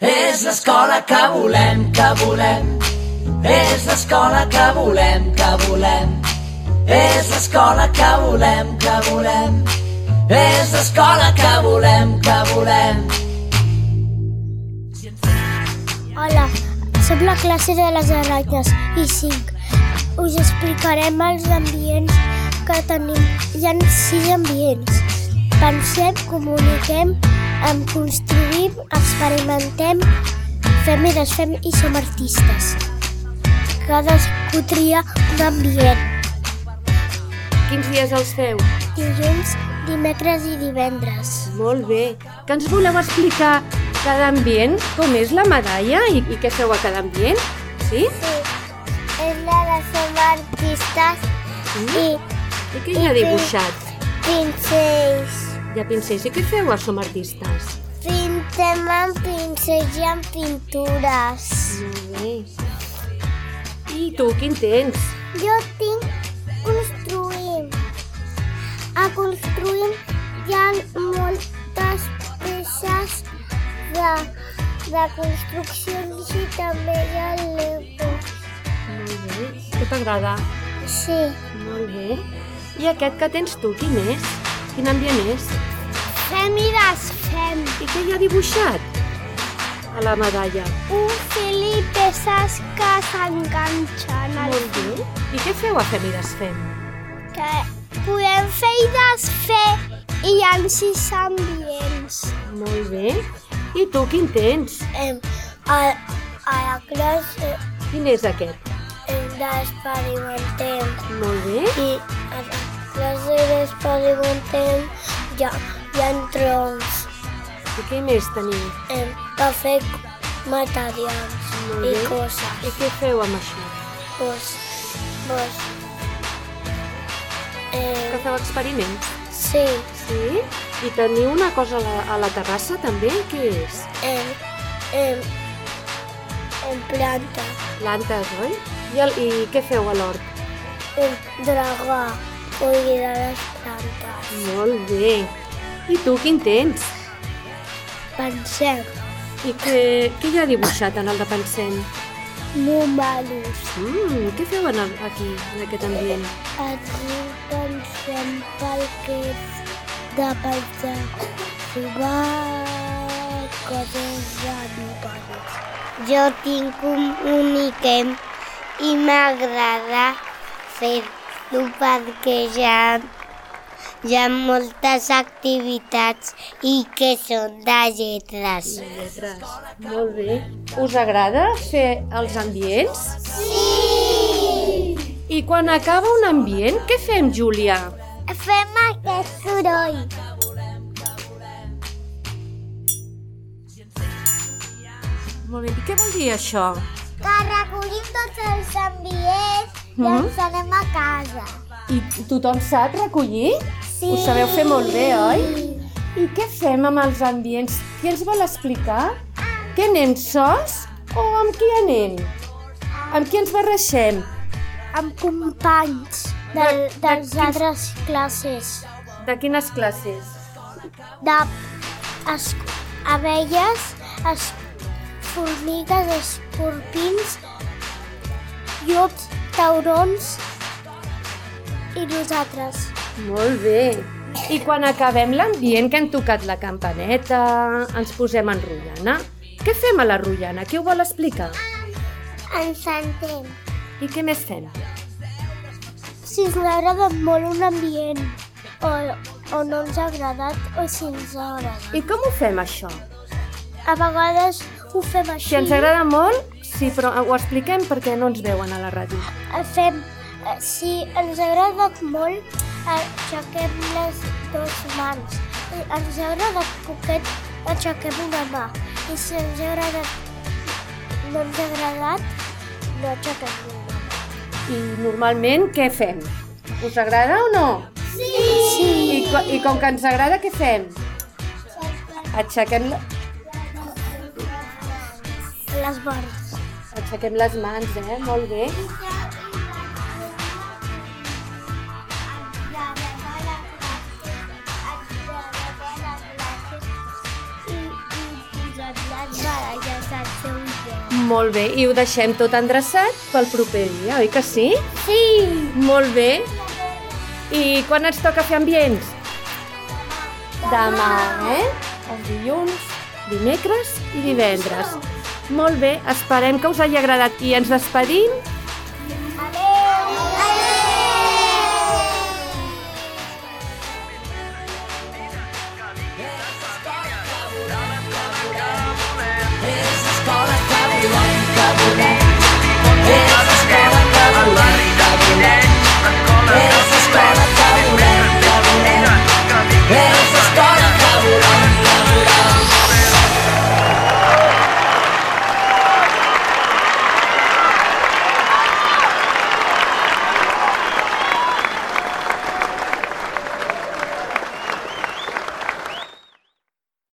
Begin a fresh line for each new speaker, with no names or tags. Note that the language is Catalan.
És l'escola que volem, que volem. És l'escola que volem, que volem. És l'escola que volem, que volem. És l'escola que volem, que volem.
Hola, sóc la classe de les aranyes i 5. Us explicarem els ambients que tenim. Hi ha sis ambients. Pensem, comuniquem, em construïm, experimentem, fem i desfem i som artistes. Cadascú tria un ambient.
Quins dies els feu?
Dilluns, dimecres i divendres.
Molt bé. Que ens voleu explicar cada ambient? Com és la medalla i, i què feu a cada ambient? Sí?
Sí, és la de som artistes
Mm. I què hi ha
I
dibuixat?
pincells.
Hi ha pincells. I què feu a Som Artistes?
Pintem amb pincells i amb pintures.
Molt bé. I tu, quin tens?
Jo tinc construïm. A construïm hi ha moltes peces de, de construccions i també hi ha l'ego.
Molt bé. Què t'agrada?
Sí,
Molt bé. I aquest que tens tu, quin és? Quin ambient és?
fem i desfem.
I què hi ha dibuixat? A la medalla.
Un fil i peces que s'enganxen al
Molt bé. I què feu a Fem i Desfem?
que podem fer i desfer i hi ha sis ambients.
Molt bé. I tu, quin tens?
A, a la classe
Quin és aquest?
hem d'experimentem.
Molt bé.
i a la classe d'experimentem hi ha, hi ha troncs
I què més teniu?
hem de fer materials
Molt
i
bé.
coses.
I què feu amb això?
Pues, pues,
Que
eh,
feu experiments?
sí,
Sí. I teniu una cosa a la, a la terrassa també? Què és?
em, em, em planta,
Plantes, oi? I, el, i què feu a l'hort?
em dragà, cuidar les plantes.
Molt bé. I tu quin tens?
Pensem,
I què, què hi ha dibuixat en el de Pensem?
números.
Mm, què feu en el, aquí, en aquest ambient?
Aquí pensem pel que és de pensar trobar coses de números. Jo tinc un uniquem i m'agrada fer-lo perquè ja hi ha moltes activitats i que són de lletres.
Lletres. Molt bé. Us agrada fer els ambients? Sí! I quan acaba un ambient, què fem, Júlia?
Fem aquest soroll.
Molt bé. I què vol dir això?
Que recollim tots els ambients
i Mhm. ens
anem a casa.
I tothom sap recollir?
Sí.
Ho sabeu fer molt bé, oi? I què fem amb els ambients? Qui ens vol explicar? Que anem sols o amb qui anem? Amb qui ens barreixem?
Amb companys del,
De- de
dels
quins-
altres classes.
De quines classes?
De es, abelles, es, formigues, escorpins, llops, taurons i nosaltres.
Molt bé. I quan acabem l'ambient que hem tocat la campaneta, ens posem en rotllana. Què fem a la rotllana? Qui ho vol explicar?
Ens sentem.
I què més fem?
Si ens ha agradat molt un ambient o, o no ens ha agradat o si ens ha agradat.
I com ho fem, això?
A vegades ho fem així.
Si ens agrada molt, sí, però ho expliquem perquè no ens veuen a la ràdio.
Eh, fem, eh, si ens ha agradat molt, eh, aixequem les dues mans. I ens ha agradat poquet, aixequem una mà. I si ens ha agradat, no ens ha agradat, no aixequem una mà.
I normalment què fem? Us agrada o no?
Sí!
I, co i com que ens agrada, què fem? Aixequem,
Les mans.
aixequem les mans, eh? Molt bé.
i, i posar les baralles del seu gel.
Molt bé, i ho deixem tot endreçat pel proper dia, oi que sí?
Sí!
Molt bé. I quan ens toca fer ambients? Demà, eh? Els dilluns, dimecres i divendres. Molt bé, esperem que us hagi agradat i ens despedim